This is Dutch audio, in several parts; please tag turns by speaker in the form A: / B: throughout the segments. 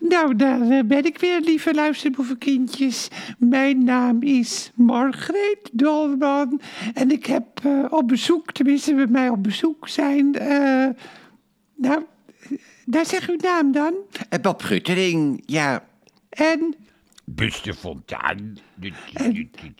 A: Nou, daar eh, ben ik weer, lieve luisterboevenkindjes. Mijn naam is Margreet Dolman. En ik heb eh, op bezoek, tenminste bij mij op bezoek zijn... eh, nou, daar zeg uw naam dan.
B: Eh, Bob Guttering, ja.
A: En,
C: Buste Fontaan.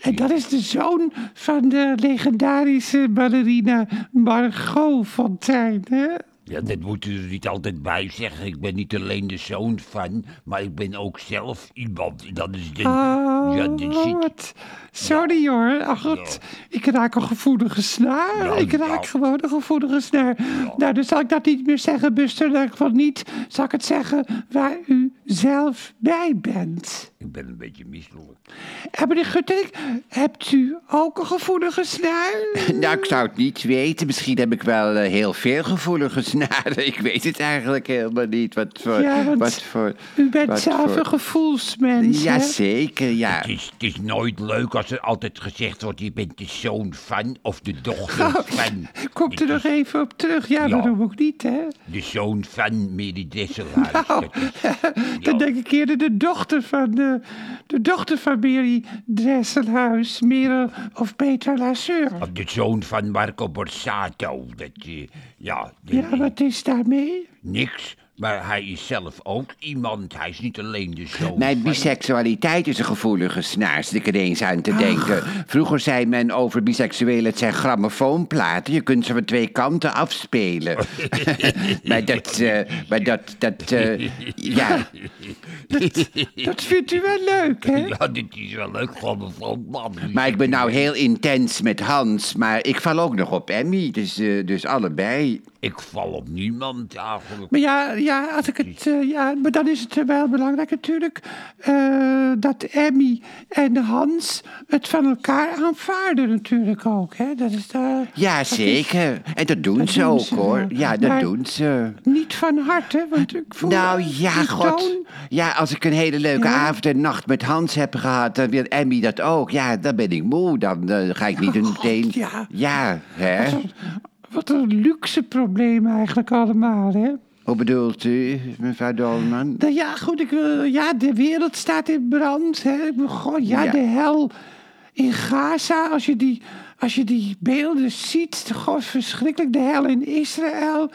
A: en dat is de zoon van de legendarische ballerina Margot Fonteyn. Hè?
C: Ja, dat moeten ze er niet altijd bij zeggen. Ik ben niet alleen de zoon van, maar ik ben ook zelf iemand. En Dat is de. ja,
A: Oh,
C: dat zit.
A: wat. Sorry hoor. Ach, god. Ik raak een gevoelige snaar.
C: Nou,
A: ik raak
C: nou.
A: gewoon een gevoelige snaar. Nou, dus zal ik dat niet meer zeggen, Buster. In elk geval niet. Zal ik het zeggen waar u zelf bij bent.
C: Ik ben een beetje misselijk.
A: En meneer Guttering, hebt u ook een gevoelige snaar?
B: Nou, ik zou het niet weten. Misschien heb ik wel eh, heel veel gevoelige snaren. Ik weet het eigenlijk helemaal niet. Wat voor...
A: Ja, want
B: wat voor
A: U bent
B: wat
A: zelf
B: voor-
A: een gevoelsmens, hè?
B: Jazeker, ja.
C: Het is, het is nooit leuk als er altijd gezegd wordt: je bent de zoon van of de dochter
A: Oh,
C: van.
A: Komt er
C: Dit
A: nog even op terug. Ja, dat
C: Ja.
A: doen we ook niet, hè?
C: is De zoon van Mary Desselaar.
A: Nou,
C: Dat
A: dan
C: is-
A: denk ik eerder de dochter van, de, de dochter van Mary Dresselhuis, Merel of Peter Lasseur.
C: of de zoon van Marco Borsato. Dat, eh, ja, dat
A: Ja,
C: is-
A: wat is daarmee?
C: Niks, maar hij is zelf ook iemand. Hij is niet alleen de zoon.
B: Mijn
C: van-
B: biseksualiteit is een gevoelige snaar, zit ik ineens aan
A: Ah.
B: te denken. Vroeger zei men over biseksuelen, het zijn grammofoonplaten. Je kunt ze van twee kanten afspelen. maar dat, eh, maar dat, dat, eh, ja,
A: Dat vindt u wel leuk, hè?
C: Ja, dit is wel leuk, gewoon van man.
B: Maar ik ben nou heel intens met Hans, maar ik val ook nog op Emmy, dus, eh, dus allebei.
C: Ik val op niemand eigenlijk.
A: Maar ja, ja, als ik het, eh, ja, maar dan is het wel belangrijk natuurlijk eh, dat Emmy en Hans het van elkaar aanvaarden natuurlijk ook. Hè? Dat is daar
B: Ja,
A: dat is
B: zeker. En dat doen
A: dat
B: ze
A: doen
B: ook,
A: ze
B: hoor.
A: wel.
B: Ja, dat
A: Maar-
B: doen ze.
A: Niet van harte, want ik voel
B: Nou
A: die
B: ja, god.
A: toon.
B: Ja, als ik een hele leuke avond en nacht met Hans heb gehad, dan wil Emmy dat ook. Ja, dan ben ik moe. Dan eh, ga ik niet meteen.
A: Oh ja.
B: ja, hè?
A: Wat een luxe probleem eigenlijk allemaal, hè?
B: Hoe bedoelt u, mevrouw Dolman?
A: Nou ja, goed, ik, wil- ja, de wereld staat in brand. Hè. Ik bedoel, goh, ja,
B: Ja.
A: de hel in Gaza. Als je die, als je die beelden ziet, god, verschrikkelijk. De hel in Israël.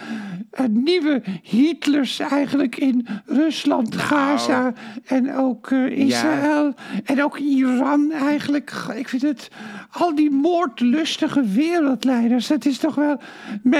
A: Een nieuwe Hitlers eigenlijk in Rusland, Gaza en ook eh, Israël. En ook Iran eigenlijk. Goh, Ik vind het, al die moordlustige wereldleiders. Dat is toch wel,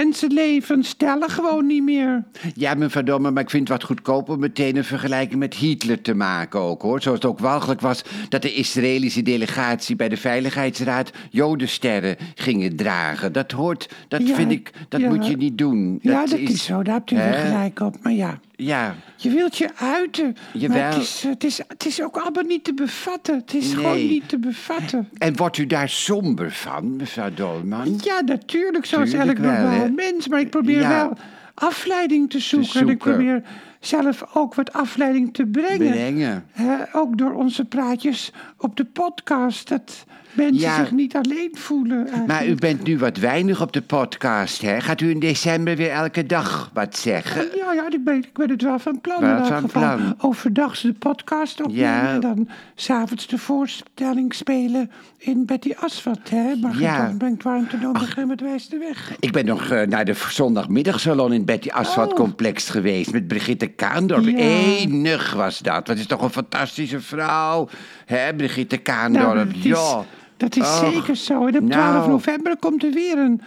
A: mensenlevens tellen gewoon niet meer.
B: Ja, mevrouw Dolman, maar ik vind het wat goedkoper meteen een vergelijking met Hitler te maken ook, hoor. Zoals het ook walgelijk was dat de Israëlische delegatie bij de Veiligheidsraad Jodensterren gingen dragen. Dat hoort, dat
A: Ja,
B: vind ik, dat
A: ja.
B: moet je niet doen.
A: ja, dat is, zo, daar hebt u weer
B: Hè?
A: gelijk op. Maar ja,
B: Ja,
A: je wilt je uiten. Maar
B: Jawel.
A: het is, het, is, het is ook allemaal niet te bevatten. Het is
B: Nee.
A: gewoon niet te bevatten.
B: En wordt u daar somber van, mevrouw Dolman?
A: Ja, natuurlijk, zoals elk
B: Tuurlijk wel,
A: normaal
B: hè?
A: mens. Maar ik probeer
B: Ja.
A: wel afleiding te zoeken. En ik
B: zoeken.
A: probeer zelf ook wat afleiding te brengen.
B: Brengen.
A: Hè, ook door onze praatjes op de podcast. Dat mensen
B: Ja.
A: zich niet alleen voelen.
B: Maar
A: eigenlijk.
B: u bent nu wat weinig op de podcast, hè? Gaat u in december weer elke dag wat zeggen?
A: Ja, ja ik, ben, ik ben het wel van plan.
B: Wel
A: in elk
B: van
A: geval.
B: plan.
A: Overdag de podcast opnemen
B: Ja.
A: en dan s'avonds de voorstelling spelen in Betty Asvat. Hè? Maar
B: Ja.
A: dan brengt warmte door begin met wijs de weg.
B: Ik ben nog eh, naar de v- zondagmiddagsalon in Betty Aswat
A: Oh.
B: Complex geweest met Brigitte Kaandorp.
A: Ja.
B: Enig was dat. Dat is toch een fantastische vrouw, hè, Brigitte
A: Nou,
B: Kaandorp?
A: dat is,
B: ja.
A: dat is
B: Och.
A: zeker zo. En op
B: Nou.
A: 12 november komt er weer een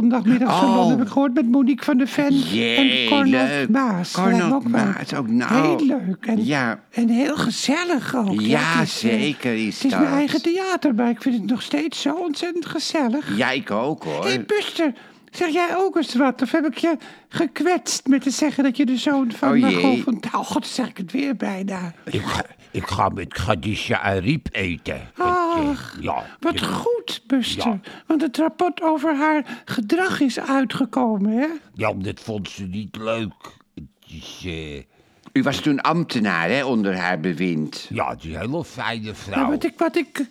A: zondagmiddagsalon,
B: Oh.
A: heb ik gehoord, met Monique van der Ven en
B: Jee,
A: Cornel
B: leuk.
A: Maas.
B: Cornel
A: Lijkt me ook wel
B: Maas, ook nou.
A: Heel leuk. En,
B: Ja.
A: en heel gezellig ook.
B: Ja,
A: het eh,
B: zeker is
A: Het is
B: dat.
A: mijn eigen theater, maar ik vind het nog steeds zo ontzettend gezellig.
B: Ja, ik ook, hoor.
A: Hé, hey, Buster, zeg jij ook eens wat? Of heb ik je gekwetst met te zeggen dat je de zoon van
B: Oh,
A: oh,
B: jee.
A: Margot van... Oh, god, zeg ik het weer bijna.
C: Ik ga, ik ga met Khadija Ariep eten. Dat, eh,
A: Ach,
C: ja,
A: wat
C: dit-
A: goed, Buster.
C: Ja.
A: Want het rapport over haar gedrag is uitgekomen, hè?
C: ja, dat vond ze niet leuk. Het is, eh,
B: U was toen ambtenaar, hè, onder haar bewind. Nou.
C: ja, het is een hele fijne vrouw.
A: Maar wat ik, wat ik,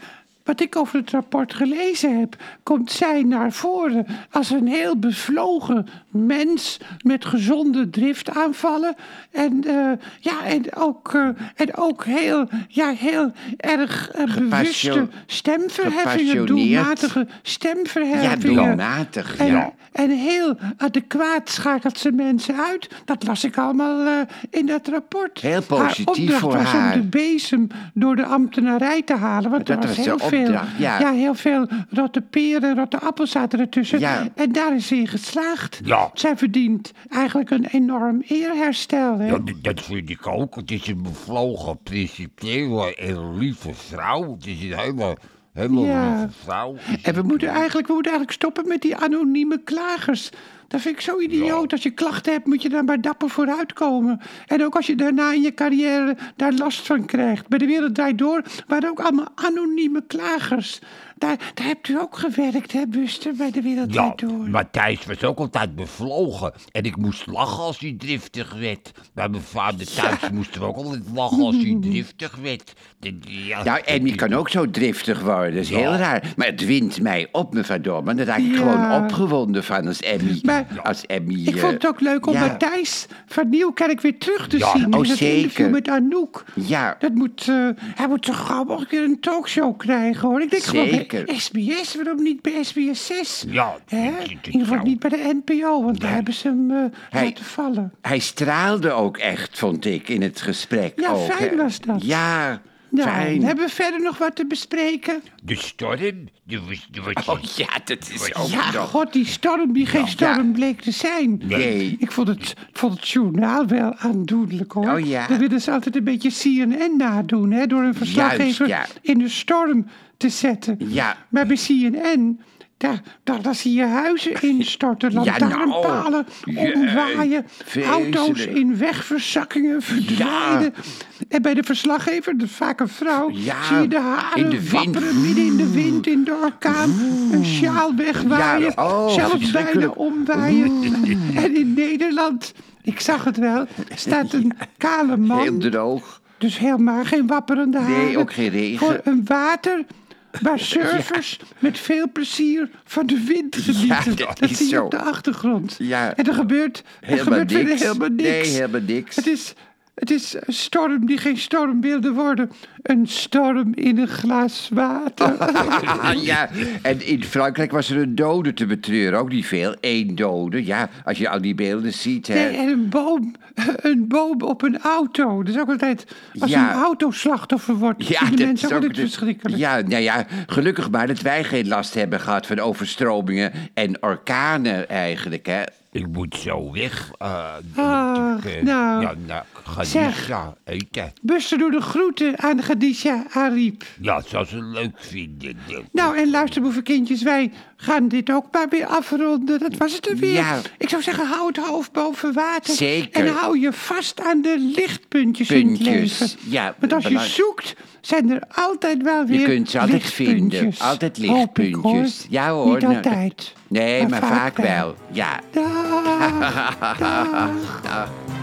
A: Wat ik over het rapport gelezen heb, komt zij naar voren als een heel bevlogen mens met gezonde driftaanvallen. En, eh, ja, en, ook, eh, en ook heel, ja, heel erg eh, bewuste
B: Gepassio-
A: stemverheffingen,
B: gepassioneerd.
A: doelmatige
B: Ja,
A: stemverheffingen.
B: doelmatig,
A: En,
B: ja.
A: en heel adequaat schakelt ze mensen uit. Dat las ik allemaal eh, in dat rapport.
B: Heel positief
A: haar opdracht
B: voor
A: was
B: haar.
A: om de bezem door de ambtenarij te halen. Want
B: Dat
A: er was,
B: was de
A: heel veel,
B: opdracht, ja.
A: heel veel rotte peren, rotte appels zaten ertussen.
B: Ja.
A: En daar is ze in geslaagd.
C: Ja.
A: Zij verdient eigenlijk een enorm eerherstel. Hè?
C: Ja, d- dat vind ik ook. Het is een bevlogen, principiële en lieve vrouw. Het is een hele, hele
A: Ja.
C: lieve vrouw.
A: En we moeten, eigenlijk, we moeten eigenlijk stoppen met die anonieme klagers. Dat vind ik zo idioot. Als je klachten hebt, moet je daar maar dapper vooruitkomen. En ook als je daarna in je carrière daar last van krijgt. Bij de wereld draait door waren ook allemaal anonieme klagers. Daar, daar hebt u ook gewerkt, hè, Buster, bij de wereld
C: Ja,
A: draait door.
C: maar Thijs was ook altijd bevlogen. En ik moest lachen als hij driftig werd. Bij mijn vader thuis moesten we ook altijd lachen als hij driftig werd. De- Ja,
B: Nou, Emmy kan ook zo driftig worden. Dat is heel raar. Maar het wint mij op, mevrouw maar Daar raak ik
A: Ja.
B: gewoon opgewonden van als Emmy.
A: Maar-
B: als Emmy
A: Ik
B: eh,
A: vond het ook leuk om
B: ja.
A: Matthijs van Nieuwkerk weer terug te
C: Ja,
A: zien.
B: oh,
A: in dat interview
B: zeker.
A: met Anouk.
B: Ja.
A: Dat moet, eh, hij moet zo gauw mogelijk weer een talkshow krijgen, hoor. Ik denk gewoon
B: Zeker.
A: bij SBS, waarom niet bij SBS 6?
C: Ja,
A: Hè?
C: ik- ik-
A: In
C: ik
A: ieder geval
C: zou-
A: niet bij de NPO, want daar hebben ze hem eh,
B: Hij-
A: laten vallen.
B: Hij straalde ook echt, vond ik, in het gesprek.
A: Ja,
B: ook,
A: fijn
B: hè.
A: was dat.
B: Ja,
A: Nou,
B: fijn.
A: hebben we verder nog wat te bespreken?
C: De storm, die was, die was
B: Oh ja, dat is ook
A: Ja,
B: nog.
A: god, die storm die geen storm bleek te zijn.
B: Nee.
A: Ik vond het, ik vond het journaal wel aandoenlijk, hoor.
B: Oh, ja.
A: Dat willen ze altijd een beetje CNN nadoen, hè. Door een verslaggever
B: Juist,
A: in de storm te zetten.
B: Ja.
A: Maar bij CNN... Daar, daar, daar zie je huizen instorten,
B: Ja, nou.
A: lantaarnpalen
B: Jee,
A: omwaaien,
B: vreselijk.
A: auto's in wegverzakkingen verdwijnen. En bij de verslaggever, dat is vaak een vrouw,
B: Ja,
A: zie je de haren
B: in de wind.
A: wapperen midden in de wind, in de orkaan, een sjaal wegwaaien,
B: Ja, oh,
A: zelfs
B: verschrikkelijk.
A: bijna omwaaien. En in Nederland, ik zag het wel, staat een kale man,
B: Heel droog.
A: dus helemaal geen wapperende haren.
B: ook geen regen.
A: Voor een water waar surfers met veel plezier van de wind genieten.
B: dat is
A: zie je
B: zo.
A: op de achtergrond.
B: Ja.
A: En er gebeurt, er
B: Helemaal
A: gebeurt verder
B: niks.
A: helemaal niks.
B: Nee, helemaal niks.
A: Het is, het is een storm die geen storm wilde worden. Een storm in een glas water.
B: Ah, ja, en in Frankrijk was er een dode te betreuren. Ook niet veel. Eén dode. Ja, als je al die beelden ziet. Hè.
A: Nee, eh, en een boom, een boom op een auto. Dat is ook altijd, als
B: Ja.
A: een autoslachtoffer wordt,
B: Ja,
A: vinden
B: dat
A: mensen
B: is
A: ook
B: ook
A: altijd
B: de-
A: verschrikkelijk.
B: Ja, nou ja, gelukkig maar dat wij geen last hebben gehad van overstromingen en orkanen eigenlijk, hè.
C: Ik moet zo weg. eh,
A: Ah,
C: ik, eh,
A: nou.
C: Ja, nou, ga
A: Zeg.
C: ja, eten.
A: Buster doet de groeten aan Gadisha Ariep.
C: Ja, zou ze leuk dus. vinden.
A: Nou, en luister, boevenkindjes, wij gaan dit ook maar weer afronden. Dat was het er weer.
B: Ja.
A: Ik zou zeggen, hou het hoofd boven water.
B: Zeker.
A: En hou je vast aan de lichtpuntjes in het
B: Puntjes,
A: leven.
B: ja,
A: Want als je
B: belang-
A: zoekt, zijn er altijd wel weer
B: kunt ze altijd vinden.
A: lichtpuntjes.
B: Altijd
A: Hoop ik, hoor.
B: lichtpuntjes. Ja, hoor.
A: Niet
B: Nou,
A: altijd.
B: Nee, maar vaak wel. Ja.
A: Dag. Dag.
B: Dag.